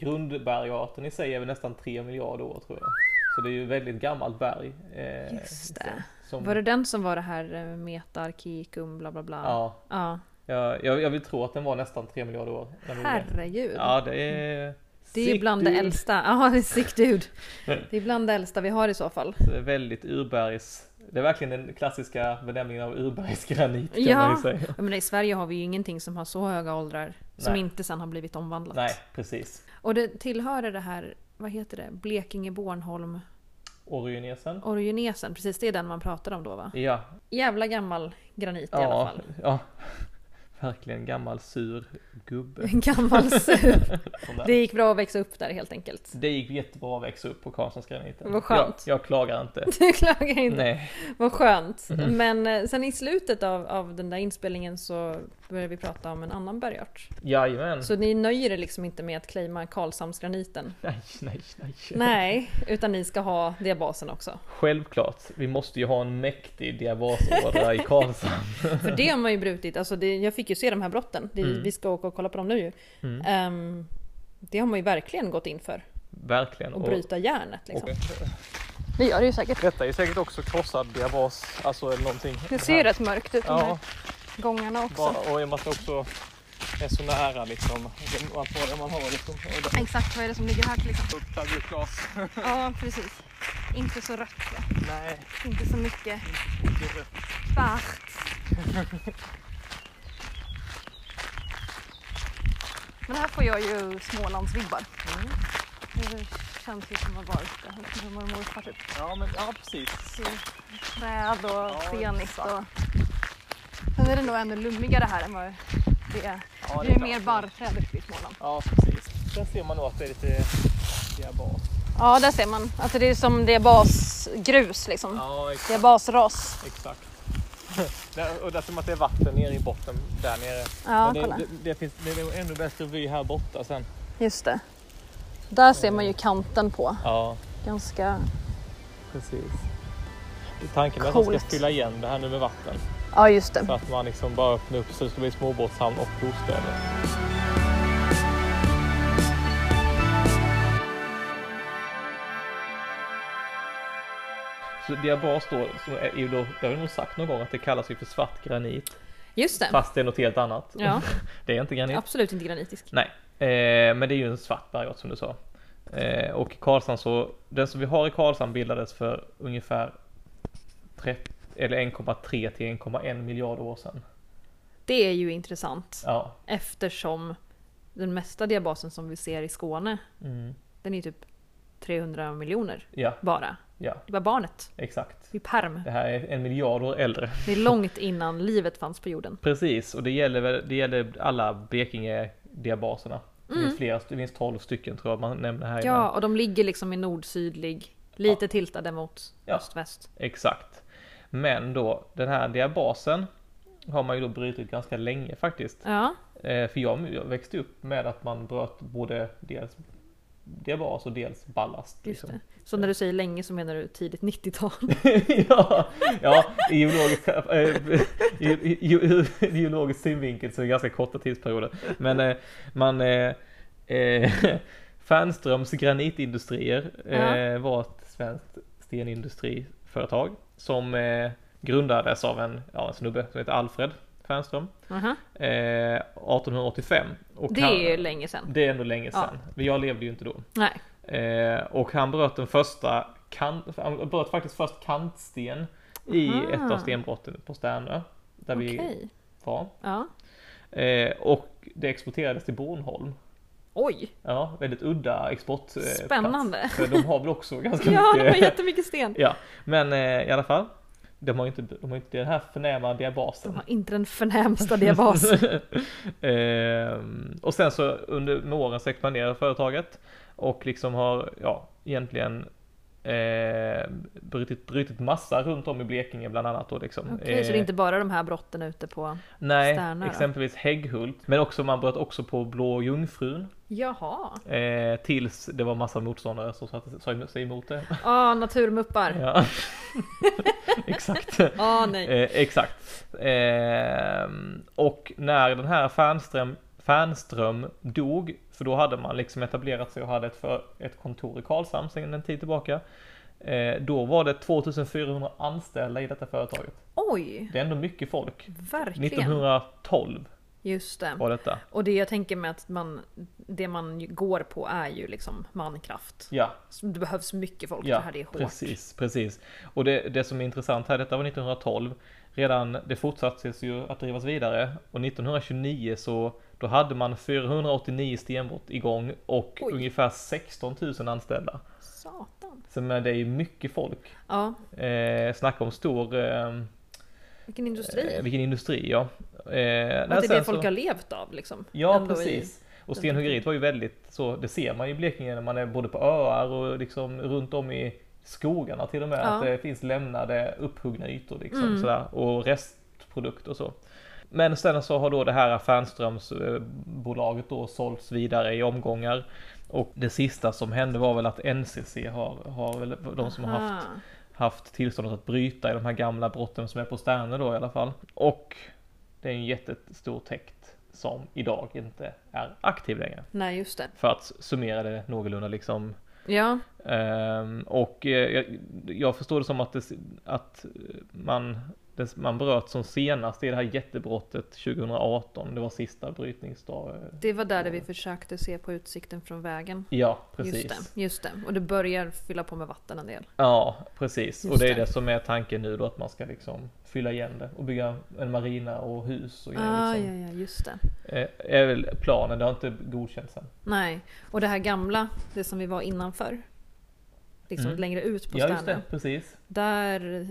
grundbergarten i sig är väl nästan tre miljarder år tror jag. Så det är ju väldigt gammalt berg. Eh,
Just det.
Som,
Var det den som var det här eh, metarkikum bla bla bla?
Ja,
ja.
jag, jag jag vill tro att den var nästan tre miljarder år. när vi gjorde den.
Herregud.
Ja, det är...
Det är bland det
Sick, dude.
äldsta. Ja, det är sick dude. Det är bland det äldsta vi har i så fall.
Det är väldigt urbergs... Det är verkligen den klassiska benämningen av urbergsgranit kan man ju
Ja,
säga.
men i Sverige har vi ju ingenting som har så höga åldrar som
Nej.
inte sen har blivit omvandlat.
Nej, precis.
Och det tillhör det här vad heter det, Blekinge, Bornholm,
Orionesen.
Orionesen. Precis, det är den man pratar om då va?
Ja,
Jävla gammal granit i alla
ja,
fall.
ja. Verkligen gammal sur gubbe.
En gammal sur.
Sån där.
Det gick bra att växa upp där helt enkelt.
Det gick jättebra att växa upp på Karlssonsgraniten.
Vad skönt.
Jag, jag klagar inte.
Du klagar inte.
Nej. Mm.
Vad skönt. Men eh, sen i slutet av, av den där inspelningen så började vi prata om en annan bergart.
Jajamän.
Så ni nöjer er liksom inte med att claima Karlshamnsgraniten?
Nej, nej, nej.
Nej, utan ni ska ha diabasen också.
Självklart, vi måste ju ha en mäktig diabasådra i Karlshamn.
För det har man ju brutit. Alltså det, jag fick ju se de här brotten. Det,
Mm.
Vi ska åka och kolla på dem nu ju. Ehm, det har man ju verkligen gått in för.
Verkligen.
Att bryta järnet liksom.
och-
Det gör det ju säkert.
Detta är säkert också krossad diabas, alltså eller någonting.
Det ser ju rätt mörkt ut de
Mm.
Ja,
här gångarna också.
bara, och i och med att det också är så nära liksom. det- Man får det man har liksom. Och det-
Exakt vad är det som ligger här till liksom? exempel?
Öppnar vi ett glas.
Ja, precis. Inte så rött. va?
Nej,
Inte så mycket
inte rött.
svart. Men här får jag ju Smålandsvibbar. Det känns ju som att vara ute hos mormor och morfar typ.
Ja, men ja, precis.
Det är Träd och zenit och... Sen är det nog ännu lummigare här än vad det är.
Ja,
Det är
klart.
mer barrträd uppe i Småland.
Ja, precis. Sen ser man nog att det är lite diabas.
Ja, där ser man. Alltså det är som det är basgrus liksom.
Ja,
Det är basras.
Exakt. Där- och dessutom att det är vatten nere i botten där nere.
Ja,
Men det,
kolla.
det, det, finns, det är nog ännu bättre vy här borta sen.
Just det. Där ser man ju kanten på.
Ja,
Ganska...
precis. Tanken är att man ska
Coolt.
fylla igen det här nu med vatten.
Ja, just det.
Så att man liksom bara öppnar upp så det ska bli småbåtshamn och bostäder. Så diabas då, som är ju då, det har jag nog sagt någon gång att det kallas ju för svart granit.
Just det.
Fast det är något helt annat.
Ja,
Det är inte granit.
absolut inte granitisk.
Nej, eh, men det är ju en svart bergart som du sa. Eh, och i Karlshamn så, den som vi har i Karlshamn bildades för ungefär tre- eller 1,3 till 1,1 miljard år sedan.
Det är ju intressant
Ja,
eftersom den mesta diabasen som vi ser i Skåne,
mm,
den är ju typ 300 miljoner
ja,
bara.
ja,
Det var barnet
exakt.
vid perm.
Det här är en miljard år äldre.
Det är långt innan livet fanns på jorden.
Precis, och det gäller, väl- det gäller alla Blekinge-diabaserna. Det, är flera, det finns 12 stycken tror jag man nämnde här innan.
Mm. Ja, och de ligger liksom i nordsydlig, lite tiltade mot
Ja.
öst-väst.
Exakt. Men då, den här diabasen har man ju då brutit ganska länge faktiskt.
Ja,
Eh, för jag, jag växte upp med att man bröt både dels diabas och dels ballast. liksom.
just det. Så när du säger länge så menar du tidigt 90-tal.
ja, ja i, geologisk, eh, i, i, i, i geologisk synvinkel så är det ganska korta tidsperioder. Men eh, man... Eh, eh, Fernströms granitindustrier eh, var ett svenskt stenindustriföretag som eh, grundades av en, ja, en snubbe som heter Alfred Fernström
Aha.
eh, 1885. Och
Det
han-
är ju länge sedan.
Det är ändå länge
Ja.
sedan. Men jag levde ju inte då.
Nej,
Eh, och han bröt den första kan, han bröt faktiskt först kantsten i
Aha.
ett av stenbrotten på Sternö. Där
okej.
vi var.
Ja.
Eh, och det exporterades till Bornholm.
Oj,
Ja, väldigt udda export. eh,
Spännande.
plats. För de har väl också ganska
ja det var
mycket.
jättemycket sten.
Ja, men eh, i alla fall. De har ju inte, de har ju inte den här förnäma diabasen.
De har inte den förnämsta diabas.
Ehm, och sen så under med åren så expanderar företaget och liksom har, ja, egentligen eh, brutit, brutit massa runt om i Blekinge bland annat då liksom.
Okej, så det är inte bara de här brotten ute på...
Nej,
Stärna då?
exempelvis Hägghult. Men också man bröt också på Blå Jungfrun
Jaha!
eh, tills det var massa motståndare som satte- sa sig emot det.
Ah, naturmuppar!
Ja. Exakt.
Ah, nej.
Eh, exakt. Ehm, och när den här Fernström, Fernström dog, för då hade man liksom etablerat sig och hade ett, för, ett kontor i Karlshamn sedan en tid tillbaka. Eh, då var det 2400 anställda i detta företaget.
Oj,
Det är ändå mycket folk.
verkligen.
1912
Just det.
var detta.
Och det jag tänker med att man, det man ju går på är ju liksom mankraft.
Ja,
Så Alltså, Det behövs mycket folk, det
ja
här det är hårt.
precis, precis. Och det, det som är intressant här, detta var 1912. Redan, det fortsattes ju att drivas vidare och 1929 så Då hade man 489 stenbrott igång och
Oj.
ungefär 16 000 anställda.
Satan.
Så men det är ju mycket folk.
Ja,
Eh, snacka om stor... Eh,
vilken industri.
eh, vilken industri ja. Eh,
och att det är det folk
så,
har levt av liksom.
Ja
Ändå i-
precis. Och stenhuggeriet var ju väldigt så, det ser man ju i Blekinge när man är både på öar och liksom runt om i skogarna till och med.
Ja.
Att det finns lämnade upphuggna ytor liksom
Mm.
sådär. Och restprodukter och så. Men sen så har då det här Fernströmsbolaget då sålts vidare i omgångar. Och det sista som hände var väl att NCC har, har väl de som har haft
Aha.
haft tillståndet att bryta i de här gamla brotten som är på Sterne då i alla fall. Och det är en jättestor täkt som idag inte är aktiv längre.
Nej, just det.
För att summera det någorlunda liksom.
Ja,
Ehm, och eh, jag, jag förstår det som att, det, att man, det, man bröt som senast i det här jättebrottet 2018. Det var sista brytningsdag.
det var där det vi försökte se på utsikten från vägen.
Ja, precis.
Just det, just det. Och det börjar fylla på med vatten en del.
Ja, precis.
Just
och det är
det.
det som är tanken nu då, att man ska liksom fylla igen det och bygga en marina och hus och grejer.
Ah,
liksom.
ja, ja, just det.
Eh, är väl planen, det har inte godkänts än.
Nej, och det här gamla, det som vi var innanför. Liksom
Mm.
längre ut på
Ja, just
Sternö.
det, precis.
Där,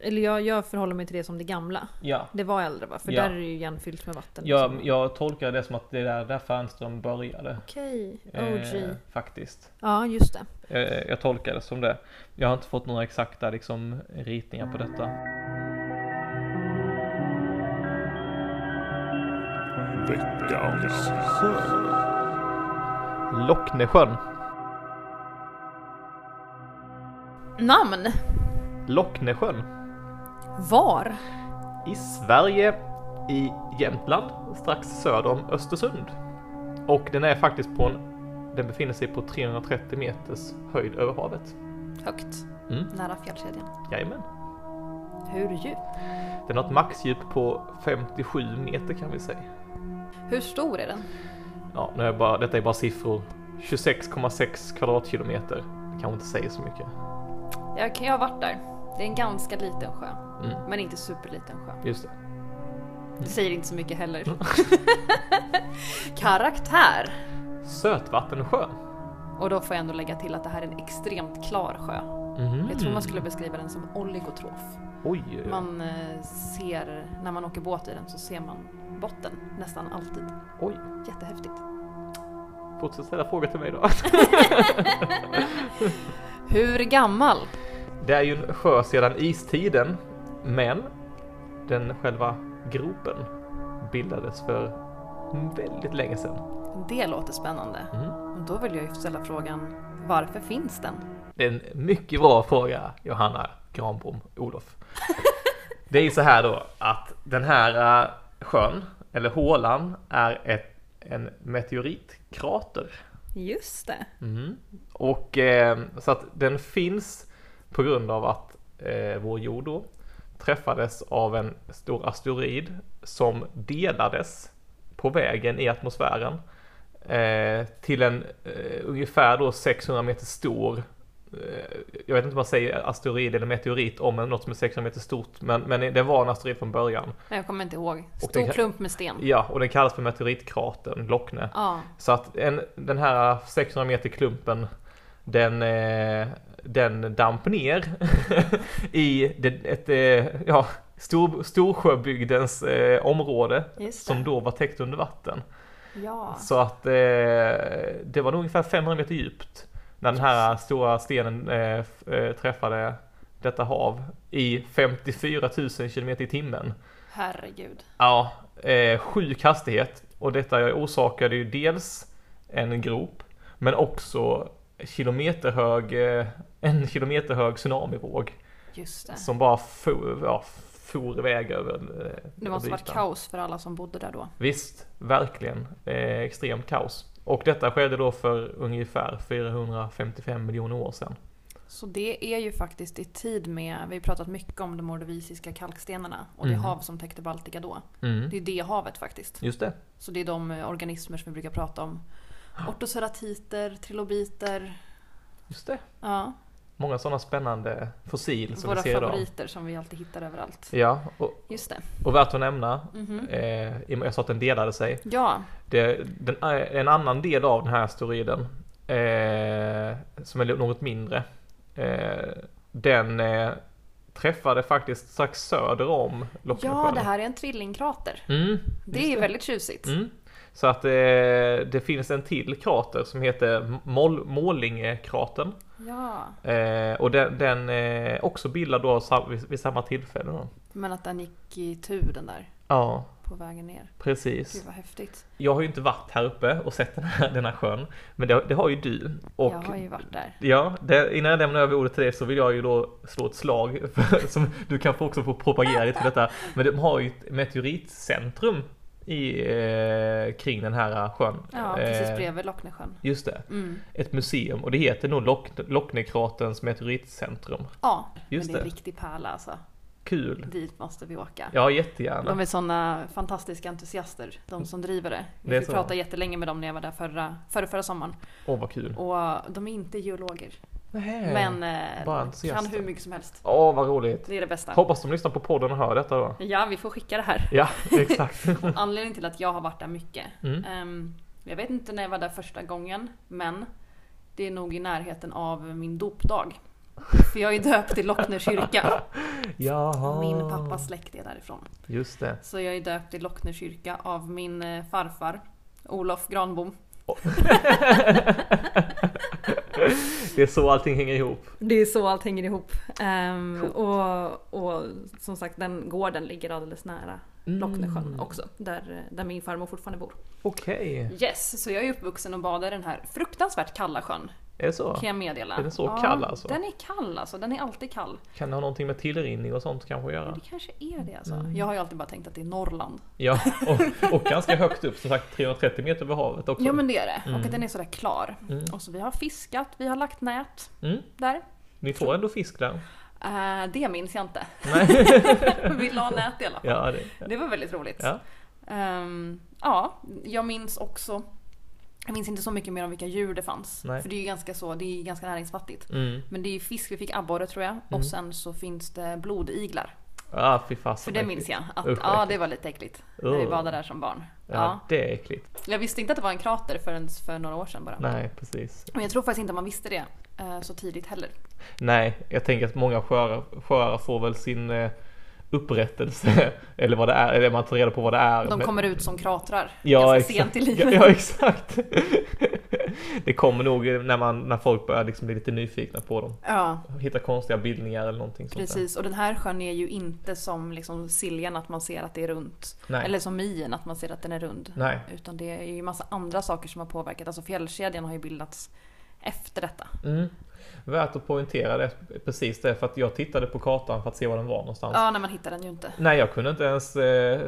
eller jag, jag förhåller mig till det som det gamla.
Ja.
Det var äldre va? För
Ja.
där är det ju igenfyllt med vatten.
Jag,
liksom.
jag tolkar det som att det är där, där Fernström började.
Okej, OG.
Eh, faktiskt.
Ja, just det.
Eh, jag tolkar det som det. Jag har inte fått några exakta liksom, ritningar på detta.
Veckans sjö.
Locknesjön.
Namn!
Locknesjön.
Var?
I Sverige, i Jämtland, strax söder om Östersund. Och den är faktiskt på en... Den befinner sig på 330 meters höjd över havet.
Högt.
Mm.
Nära fjällkedjan.
Jajamän.
Hur djup?
Den har ett maxdjup på 57 meter kan vi säga.
Hur stor är den?
Ja, nu är jag bara, detta är bara siffror. 26,6 kvadratkilometer. Det kanske inte säger så mycket.
Jag, kan- jag har varit där. Det är en ganska liten sjö.
Mm.
Men inte superliten sjö.
Just det.
Det säger inte så mycket heller. Karaktär!
Sötvattensjö.
Och då får jag ändå lägga till att det här är en extremt klar sjö.
Mhm.
Jag tror man skulle beskriva den som oligotrof.
Oj.
Man eh, ser, när man åker båt i den så ser man botten nästan alltid.
Oj.
Jättehäftigt.
Fortsätt ställa frågor till mig då.
Hur gammal?
Det är ju en sjö sedan istiden. Men den själva gropen bildades för väldigt länge sedan.
Det låter spännande.
Mm.
Och Då vill jag ju ställa frågan, varför finns den?
Det är en mycket bra fråga, Johanna Granbom Olof. Det är ju så här då att den här eh, sjön, eller hålan, är ett, en meteoritkrater.
Just det.
Mm. Och eh, så att den finns på grund av att eh, vår jord då träffades av en stor asteroid som delades på vägen i atmosfären eh, till en eh, ungefär då 600 meter stor eh, jag vet inte om man säger asteroid eller meteorit om en- något som är 600 meter stort men, men det var en asteroid från början.
Jag kommer inte ihåg.
det
Stor
kan-
klump med sten.
Ja, och den kallas för meteoritkratern Lockne.
Ja.
Så att en, den här 600 meter klumpen den, eh, den damp ner i det, ett, eh, ja, stor, Storsjöbygdens eh, område
Just det.
som då var täckt under vatten.
Ja.
Så att eh, det var nog ungefär 500 meter djupt när den här stora stenen eh, f- eh, träffade detta hav i 54 000 kilometer i timmen.
Herregud.
Ja, eh, sjuk hastighet. Och detta orsakade ju dels en grop, men också kilometerhög, eh, en kilometerhög tsunamivåg
Just det.
som bara for, ja, for iväg över eh,
Det måste
över
varit
ytan.
kaos för alla som bodde där då.
Visst, verkligen. Eh, extremt kaos. Och detta skedde då för ungefär 455 miljoner år sedan.
Så det är ju faktiskt i tid med, vi har pratat mycket om de ordovisiska kalkstenarna och det
Mm.
hav som täckte Baltika då.
Mm.
Det är det havet faktiskt.
Just det.
Så det är de eh, organismer som vi brukar
Ah.
prata om. Ortoceratiter, trilobiter.
Just det.
Ja.
Många sådana spännande fossil som
Våra
vi ser idag.
favoriter som vi alltid hittar överallt.
Ja, och,
Just det.
och värt att nämna,
Mhm.
eh, i och med- jag sa att den delade sig.
Ja,
Det, den, en annan del av den här asteroiden, eh, som är något mindre, eh, den eh, träffade faktiskt strax söder om
ja
Lockensjön.
det här är en tvillingkrater.
Mm,
Det är väldigt tjusigt.
mm. Så att eh, det finns en till krater som heter Mål- Målingekratern.
Ja,
Eh, och den, den eh, också bildad då sam- vid, vid samma tillfälle. Då.
men att den gick i tur den där
Ja,
på vägen ner. Gud
precis.
vad häftigt.
Jag har ju inte varit här uppe och sett den här, den här sjön, men det, det har ju du. Och
Jag har ju varit där.
Ja, det, innan jag lämnar över ordet till dig så vill jag ju då slå ett slag för, som du kan få också få propagera lite för detta. Men de har ju ett meteoritcentrum i, eh, kring den här sjön.
Ja, precis
Eh,
bredvid Locknesjön.
Just det,
Mm.
ett museum och det heter nog Lock, Locknekraterns meteoritcentrum.
Ja,
Just
men det är en
det.
riktig pärla alltså.
Kul!
Dit måste vi åka.
Ja, jättegärna.
De är sådana fantastiska entusiaster, de som driver det.
Det
Vi
är
fick
så.
prata jättelänge med dem när jag var där förra, förra, förra sommaren.
Åh, vad kul.
Och de är inte geologer,
Nähä.
men
bara
eh, de kan
entusiaster.
hur mycket som helst.
Åh, vad roligt.
Det är det bästa.
Hoppas de lyssnar på podden och hör detta då.
Ja, vi får skicka det här.
Ja, exakt.
Anledningen till att jag har varit där mycket.
Mm.
ehm, jag vet inte när jag var där första gången, men det är nog i närheten av min dopdag. För jag är döpt i Lockne kyrka.
Jaha.
Min pappas släkt är därifrån.
Just det.
Så jag är döpt i Lockne kyrka av min eh, farfar Olof Granbom.
Det är så allting hänger ihop.
Det är så allt hänger ihop. Ehm, och, och som sagt, den gården ligger alldeles nära Locknesjön
Mm.
också, där, där min farmor fortfarande bor.
Okej,
Yes, så jag är uppvuxen och badar i den här fruktansvärt kalla sjön,
är det så?
kan jag meddela.
Är den så kall alltså?
Den är kall alltså, den är alltid kall.
Kan det ha någonting med tillrinning och sånt kanske att göra?
Det kanske är det alltså. Jag har ju alltid bara tänkt att det är Norrland.
Ja, och, och ganska högt upp, som sagt 330 meter över havet också.
Ja men det är det, och
Mm.
att den är sådär klar.
Mm.
Och så vi har fiskat, vi har lagt nät
Mm,
där.
ni får ändå fisk där.
Eh, det minns jag inte. vi la nät i alla fall.
Ja, det,
Det var väldigt roligt.
Ja.
Ehm, ja, jag minns också. Jag minns inte så mycket mer om vilka djur det fanns.
Nej.
För det är ju ganska, så, det är ganska näringsfattigt.
mm.
Men det är ju fisk, vi fick abborre tror jag. Och sen så finns det blodiglar.
ah, fy
För
fasen.
det minns jag. Att,
Usch, vad äckligt.
ja,
Oh.
det var lite äckligt. När vi
Ugh.
badade där som barn.
Ja,
Ja.
det är äckligt.
Jag visste inte att det var en krater förrän för några år sedan bara.
Nej, precis.
Men jag tror faktiskt inte man visste det eh, så tidigt heller.
Nej, jag tänker att många sjöar, sjöar får väl sin eh, upprättelse, eller vad det är, eller man tar reda på vad det är.
De
Men-
kommer ut som kratrar
Ja,
ganska sent i livet.
Ja, exakt. Det kommer nog när, man, när folk börjar liksom bli lite nyfikna på dem.
Ja,
Hitta konstiga bildningar eller någonting sånt där.
precis. Och den här sjön är ju inte som liksom Siljan att man ser att det är runt.
Nej. Mm.
Eller som Mien att man ser att den är rund.
Nej.
Utan det är ju massa andra saker som har påverkat. Alltså fjällkedjan har ju bildats efter detta.
Mm. Värt att poängtera det, precis det, för att jag tittade på kartan för att se var den var någonstans.
Ja, nej man hittar den ju inte.
Nej, jag kunde inte ens eh,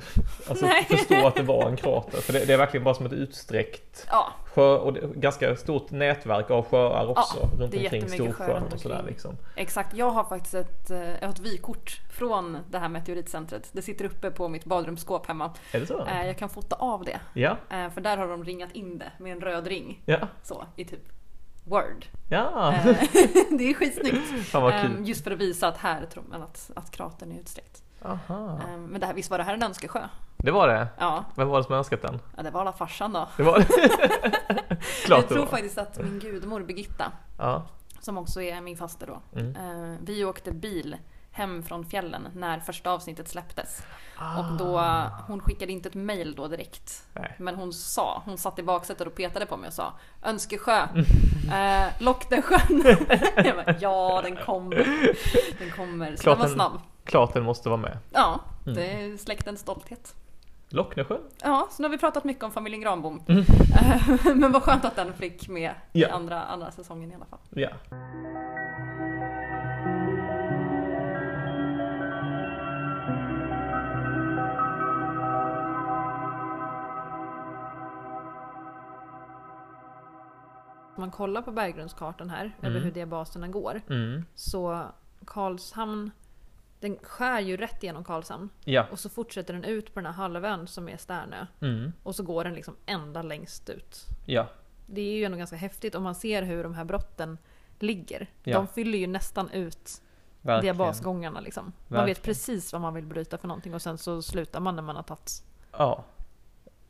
alltså,
Nej.
förstå att det var en krater. För det, det är verkligen bara som ett utsträckt
Ja,
sjö och det, ganska stort nätverk av sjöar också
Ja,
runt
det är
omkring
jättemycket sjöar
Storsjön
runt
och sådär
omkring.
liksom.
exakt. Jag har faktiskt ett, eh, jag har ett vykort från det här meteoritcentret. Det sitter uppe på mitt badrumsskåp hemma.
Är det så?
Eh, Jag kan fota av det.
Ja,
Eh, För där har de ringat in det med en röd ring.
ja,
Så, i typ Word.
ja.
Eh, Det är skitsnyggt.
Fan vad
Ehm,
kul.
Just för att visa att här tror man att, att kratern är utsträckt.
Aha.
Ehm, Men det här, visst var det här en önskesjö?
Det var det.
Ja,
Vem var det som önskat den?
ja, det var alla farsan då.
Det var Klart
Jag
det
tror
var.
faktiskt att min gudmor Birgitta,
Ja.
som också är min faster då,
Mm.
eh, vi åkte bil hem från fjällen när första avsnittet släpptes. Och då, hon skickade inte ett mail då direkt.
Nej.
Men hon sa, hon satt i baksätet och petade på mig och sa Önskesjö, eh, lock den sjön. jag bara, ja den kommer. Den kommer. Så
Klart
den Mm. var
den-
snabb.
Klart den måste vara med.
Ja, det är släktens stolthet.
Locknesjön?
Ja, så nu har vi pratat mycket om familjen Granbom. Men vad skönt att den fick med
Ja.
Mm. i andra, andra säsongen i alla fall.
Ja.
Om man kollar på berggrundskartan här, över hur diabaserna går,
Mm.
så Karlshamn, den skär ju rätt igenom Karlshamn.
Ja.
Och så fortsätter den ut på den här halvön som är Sternö.
Mm.
Och så går den liksom ända längst ut.
Ja.
Det är ju ändå ganska häftigt om man ser hur de här brotten ligger.
Ja.
De fyller ju nästan ut
Verkligen.
diabasgångarna liksom. Man
Verkligen.
vet precis vad man vill bryta för någonting och sen så slutar man när man har tagit.
Ja,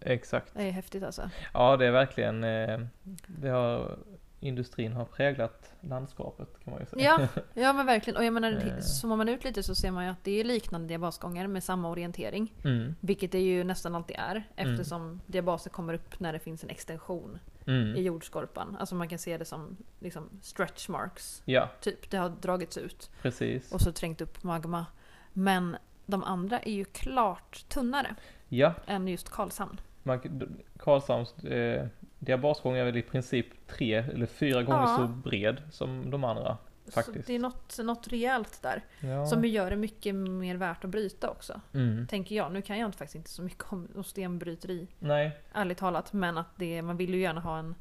exakt.
Det är häftigt alltså.
Ja, det är verkligen, eh, det har, industrin har präglat landskapet kan man ju säga.
Ja, ja men verkligen. Och jag menar,
Eh.
zoomar man ut lite så ser man ju att det är liknande diabasgångar med samma orientering.
Mm,
Vilket det ju nästan alltid är eftersom diabaser kommer upp när det finns en extension i
mm,
jordskorpan. Alltså man kan se det som liksom stretch marks.
ja,
Typ, det har dragits ut
precis.
och så trängt upp magma. Men de andra är ju klart tunnare
Ja,
än just Karlshamn.
man, d- Karlshamns eh, diabasgång är väl i princip tre eller fyra gånger
Ja.
så bred som de andra. Faktiskt.
Så det är något, något rejält där.
Ja.
Som ju gör det mycket mer värt att bryta också.
Mm.
Tänker jag. Nu kan jag inte- faktiskt inte så mycket om, om stenbryteri,
Nej,
ärligt talat. Men att det, man vill ju gärna ha en...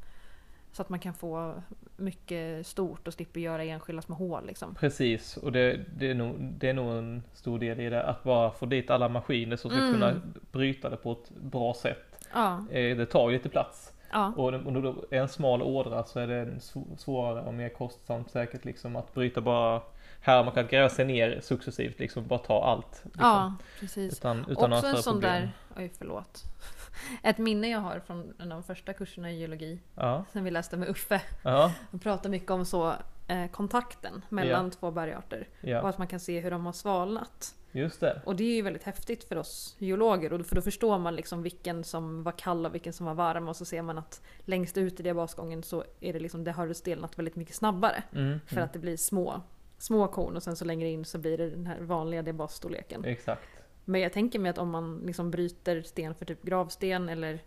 Så att man kan få mycket stort och slipper göra enskilda små hål liksom.
precis. Och det, det, är nog, det är nog en stor del i det. Att bara få dit alla maskiner som ska
Mm.
kunna bryta det på ett bra sätt.
Ja,
Eh, det tar ju lite plats.
ja.
Och om det då är en smal ådra så är det en sv- svårare och mer kostsamt säkert liksom att bryta bara här man kan gräva sig ner successivt liksom bara ta allt. Liksom.
ja precis.
Utan, utan några
Också en
större
sån
problem.
där... Oj, förlåt. Ett minne jag har från en av de första kurserna i geologi,
Ja,
sen vi läste med Uffe.
ja,
Han pratar mycket om så eh, kontakten mellan två bergarter. Och
ja,
att man kan se hur de har svalnat.
just det.
Och det är ju väldigt häftigt för oss geologer. Och för då förstår man liksom vilken som var kall och vilken som var varm. Och så ser man att längst ut i diabasgången så är det liksom, det har det stelnat väldigt mycket snabbare.
Mm,
För
mm,
att det blir små, små korn och sen så längre in så blir det den här vanliga diabasstorleken.
Exakt.
Men jag tänker mig att om man liksom bryter sten för typ gravsten eller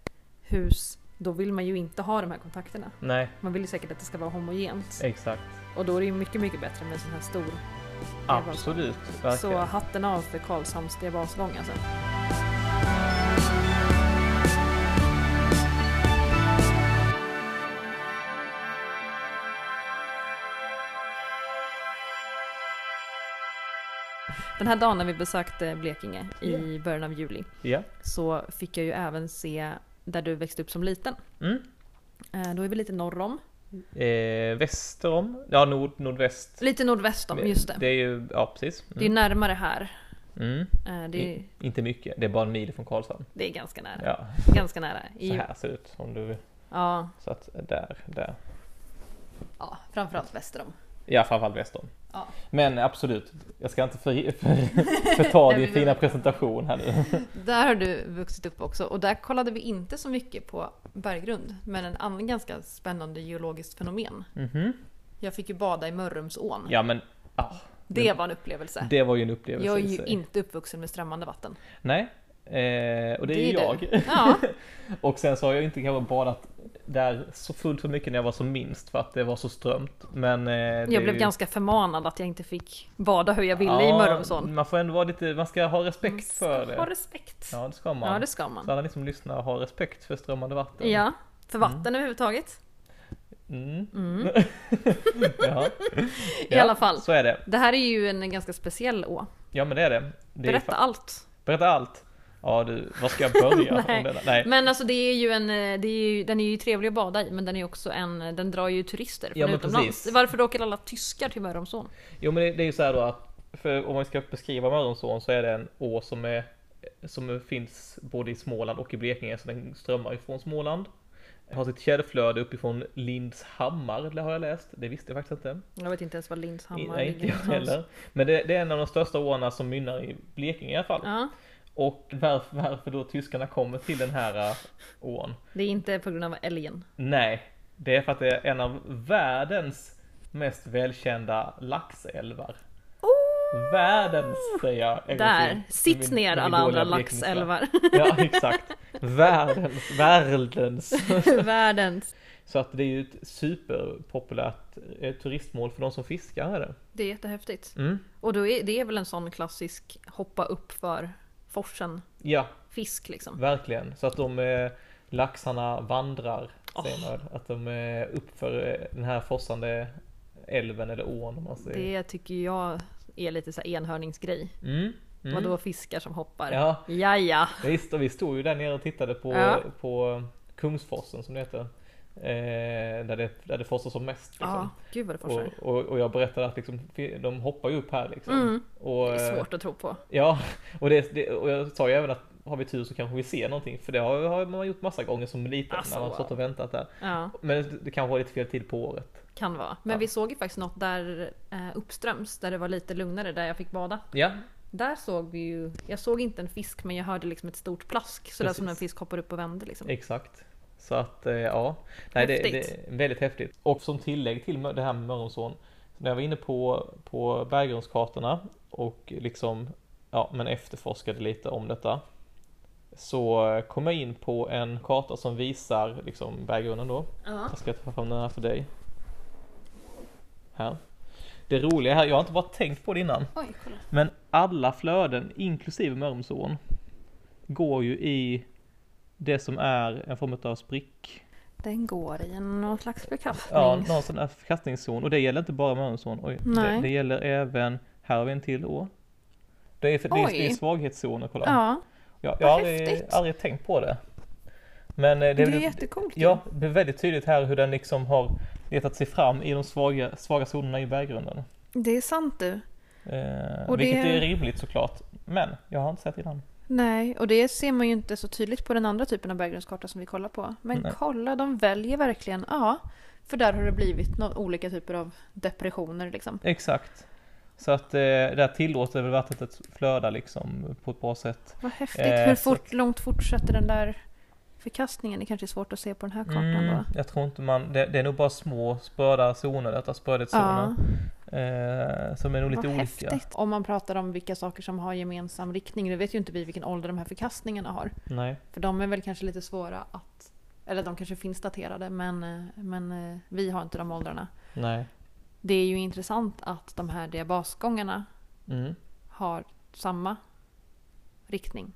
hus, då vill man ju inte ha de här kontakterna.
Nej,
Man vill ju säkert att det ska vara homogent.
exakt.
Och då är det ju mycket, mycket bättre med en sån här stor. bara-
Absolut,
Så
verkligen.
hatten av för Karlshamns diabasgång alltså. Den här dagen när vi besökte Blekinge i början av juli
Ja.
så fick jag ju även se där du växte upp som liten.
Mm.
Eh, Då är vi lite norr om.
Eh, väster om, ja nord, nordväst.
Lite nordväst om, just det.
Det är ju, ja precis.
Det är
Mm.
närmare här.
Mm.
Eh, Det är,
Inte mycket, det är bara en mil från Karlshamn.
det är ganska nära.
Ja,
Ganska nära. I,
så här ser det ut om du vill.
Ja,
Så att där, där.
ja, framförallt väster om.
Ja, framförallt väster om.
Ja.
Men absolut, jag ska inte för, för, förta
Nej,
din
men-
fina presentation här nu.
Där har du vuxit upp också och där kollade vi inte så mycket på berggrund men en annan ganska spännande geologiskt fenomen.
Mhm.
Jag fick ju bada i Mörrumsån.
Ja men, ah,
det var en upplevelse.
det var ju en upplevelse
jag är
i
ju
sig.
inte uppvuxen med strömmande vatten.
Nej, eh, och det, är ju
du.
jag.
Ja,
Och sen så har jag inte kanske badat där så fullt för mycket när jag var som minst för att det var så strömt. Men eh, det är
jag blev
ju...
ganska förmanad att jag inte fick bada hur jag ville i
Ja,
Mörrumsån. Mm.
Man får ändå vara lite, man ska ha respekt för det.
Ha respekt.
Ja det ska man.
Ja, det ska man.
Så alla ni som lyssnar, ha respekt för strömmande vatten.
Ja, för vatten överhuvudtaget.
Mm.
Mm.
Jaha.
I alla fall.
Så är det.
Det här är ju en ganska speciell å.
Ja men det är det. det är
Berätta allt.
Berätta allt. Ja du, var ska jag börja? om
Nej.
denna? Nej.
Men alltså det är ju en, eh, det är ju, den är ju trevlig att bada i men den är också en, den drar ju turister från
Ja, men
utomlands.
precis.
Varför åker alla tyskar till Mörrumsån?
Jo men det, det är ju så här då att för om man ska beskriva Mörrumsån så är det en å som, är, som finns både i Småland och i Blekinge så den strömmar ifrån Småland. Har sitt källflöde uppifrån Lindshammar, det har jag läst. Det visste jag faktiskt inte.
Jag vet inte ens var Lindshammar
Nej, inte jag
någonstans.
heller. Men det, det är en av de största åarna som mynnar i Blekinge i alla fall.
Ja,
Och varför, varför då tyskarna kommer till den här äh, ån?
det är inte på grund av älgen.
Nej, det är för att det är en av världens mest välkända laxälvar. Oh! Världens säger jag. en gång
Där!
till.
Sitt
Min-
ner
min
alla
dåliga
andra
blekingska.
laxälvar.
Ja exakt. Världens, världens.
Världens.
Så att det är ju ett superpopulärt eh, turistmål för de som fiskar är det.
Det är jättehäftigt.
Mm.
Och då är, det är väl en sån klassisk hoppa upp för forsen
Ja,
fisk liksom.
verkligen. Så att de eh, laxarna vandrar. säger man. Att de är uppför eh, den här forsande älven eller ån om man säger.
Det tycker jag är lite så här enhörningsgrej.
Mm. Mm.
Vadå fiskar som hoppar?
Ja,
Jaja.
Visst, och vi stod ju där nere och tittade på,
Ja.
på Kungsforsen som det heter. Eh, där, det, där det forsar som mest. Liksom.
Ja, gud vad det
och,
forsar.
och, och jag berättade att liksom, de hoppar ju upp här liksom.
Mm.
Och,
Det är
eh,
svårt att tro på.
Ja, och, det, det, och jag sa ju även att har vi tur så kanske vi ser någonting. För det har, har man gjort massa gånger som liten
Alltså,
när man har stått och
wow.
väntat där.
Ja,
Men det, det kanske var lite fel tid på året.
kan vara. Men
Ja.
vi såg ju faktiskt något där eh, uppströms, där det var lite lugnare, där jag fick bada.
Ja,
Där såg vi ju, jag såg inte en fisk men jag hörde liksom ett stort plask. Sådär som
Precis.
när en fisk hoppar upp och vänder liksom.
exakt. Så att eh, ja, Nej, det, det
Häftigt.
är väldigt häftigt. Och som tillägg till mö- det här med Mörrumsån. När jag var inne på, på berggrundskartorna och liksom, ja men efterforskade lite om detta. Så eh, kom jag in på en karta som visar liksom berggrunden då.
Ja.
Jag ska ta fram den här för dig. Här. Det roliga här, jag har inte bara tänkt på det innan,
Oj, kolla.
men alla flöden, inklusive Mörrumsån, går ju i det som är en form av sprick.
Den går i en- någon slags förkastning.
Ja, någon sån här förkastningszon. Och det gäller inte bara Mörrumsån, oj. Det,
Nej.
det gäller även, här har vi en till å. Det är, för, det är, det är
Oj.
svaghetszoner, kolla.
Ja,
jag jag
vad
har aldrig,
häftigt.
aldrig tänkt på det. Men eh, det,
det
är
är
väl-
jättecoolt ju.
Ja, det är väldigt tydligt här hur den liksom har letat sig fram i de svaga, svaga zonerna i berggrunden.
Det är sant du.
Eh,
Och
vilket
det-
är rimligt såklart, men jag har inte sett innan.
Nej, och det ser man ju inte så tydligt på den andra typen av berggrundskarta som vi kollar på. Men
Nej.
kolla, de väljer verkligen, ja. För där har det blivit nå- olika typer av depressioner liksom.
Exakt. Så att eh, där tillåter väl vattnet att flöda liksom på ett bra sätt.
Vad häftigt.
Eh,
Hur
så
fort, långt fortsätter den där förkastningen? Det kanske är svårt att se på den här kartan
Mm,
då.
jag tror inte man, det, det är nog bara små spröda zoner, detta sprödhetszoner,
Ja,
eh, som är nog lite
vad
olika.
häftigt. Om man pratar om vilka saker som har gemensam riktning, nu vet ju inte vi vilken ålder de här förkastningarna har.
Nej.
För de är väl kanske lite svåra att... Eller de kanske finns daterade, men, eh, men eh, vi har inte de åldrarna.
Nej.
Det är ju intressant att de här diabasgångarna
Mm.
har samma riktning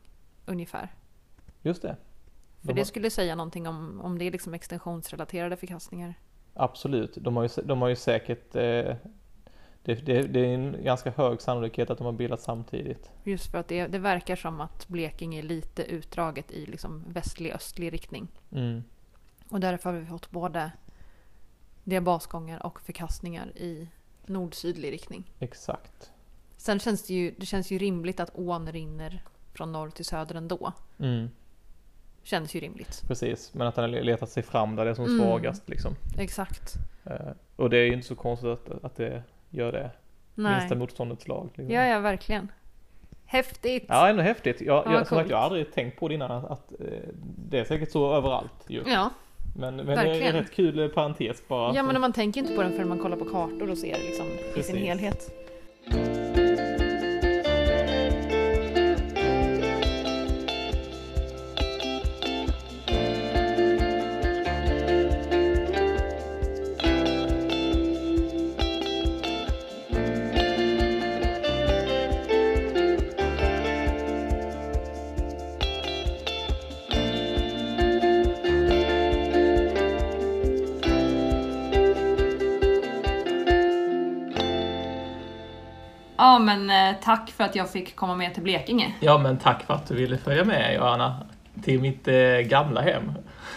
ungefär.
Just det.
För
De
det
har-
skulle säga någonting om, om det är liksom extensionsrelaterade förkastningar.
Absolut, de har ju, de har ju säkert eh, det, det, det är en ganska hög sannolikhet att de har bildats samtidigt.
Just för att det, det verkar som att Blekinge är lite utdraget i liksom västlig östlig riktning.
Mm.
Och därför har vi fått både diabasgångar och förkastningar i nord-sydlig riktning.
Exakt.
Sen känns det ju, det känns ju rimligt att ån rinner från norr till söder ändå.
Mm,
Känns ju rimligt.
precis, men att den har letat sig fram där det är som
Mm.
svagast. Liksom.
Exakt.
Eh, och det är ju inte så konstigt att, att det gör det.
Nej.
Minsta motståndets lag. Liksom.
Ja, ja, verkligen. Häftigt!
Ja, ändå häftigt. Jag,
Ja,
jag, som sagt,
coolt.
jag har aldrig tänkt på det innan att, att eh, det är säkert så överallt ju.
Ja.
Men, men det är en
Verkligen.
rätt kul eh, parentes bara.
ja, men man tänker inte på den förrän man kollar på kartor och ser liksom i
Precis.
sin helhet.
Ja men eh, tack för att jag fick komma med till Blekinge.
Ja, men tack för att du ville följa med Johanna till mitt eh, gamla hem.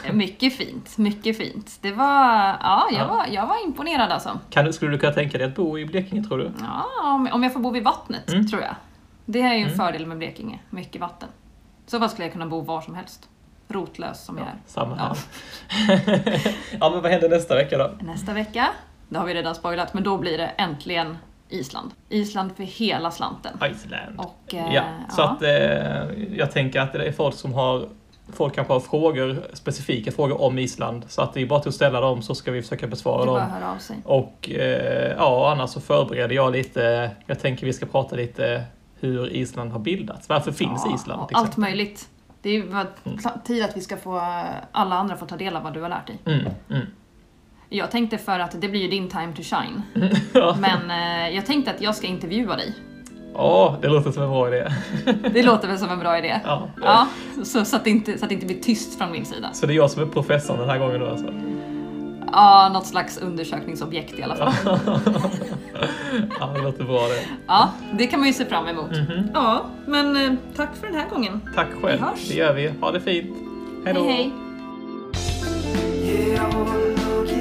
Eh, Mycket fint, mycket fint. Det var, ja jag,
Ja.
Var, jag var imponerad alltså.
Kan du, skulle du kunna tänka dig att bo i Blekinge tror du?
Ja, om, om jag får bo vid vattnet
Mm.
tror jag. Det är ju en
Mm.
fördel med Blekinge, mycket vatten. Så vad skulle jag kunna bo var som helst. Rotlös som jag är.
Samma
Ja.
här. ja, men vad händer nästa vecka då?
Nästa vecka, det har vi redan spoilat, men då blir det äntligen Island. Island för hela slanten.
Iceland.
Och, eh,
Ja, så att eh, jag tänker att det är folk som har Folk kanske har frågor, specifika frågor om Island. Så att det är bara till att ställa dem så ska vi försöka
det
besvara
är
dem.
bara att höra av sig.
Och eh, ja, annars så förbereder jag lite. Jag tänker vi ska prata lite hur Island har bildats. Varför finns
Ja,
Island?
och
till
Allt
exempel?
möjligt. Det är ju bara pla- tid att vi ska få eh, alla andra få ta del av vad du har lärt dig.
Mm, mm.
Jag tänkte för att det blir ju din time to shine.
Ja,
Men eh, jag tänkte att jag ska intervjua dig.
Åh, det låter som en bra idé.
Det låter väl som en bra idé?
Ja.
Ja, så, så, att det inte, så att det inte blir tyst från min sida.
Så det är jag som är professorn den här gången då alltså?
Ja, något slags undersökningsobjekt i alla fall.
Ja, det låter bra det.
Ja, det kan man ju se fram emot. Ja, men eh, tack för den här gången.
Tack själv.
Vi hörs.
Det gör vi. Ha det fint. Hej då.
Hej hej!
You
Geologipodden.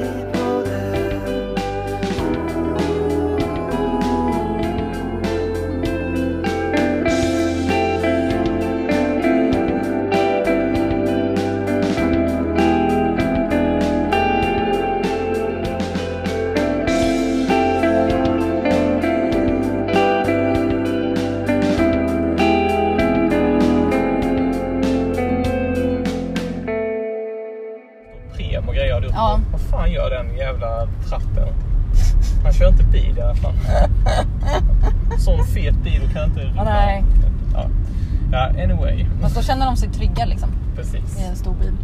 Geologipodden.
Prem och grejer hade gjort
Ja.
bort. Vad fan gör den jävla tratten? Han kör inte bil i alla fall. Sån fet bil och kan inte rulla.
nej.
Ja. ja, anyway.
Fast då känner de sig trygga liksom
Precis.
i en stor bil.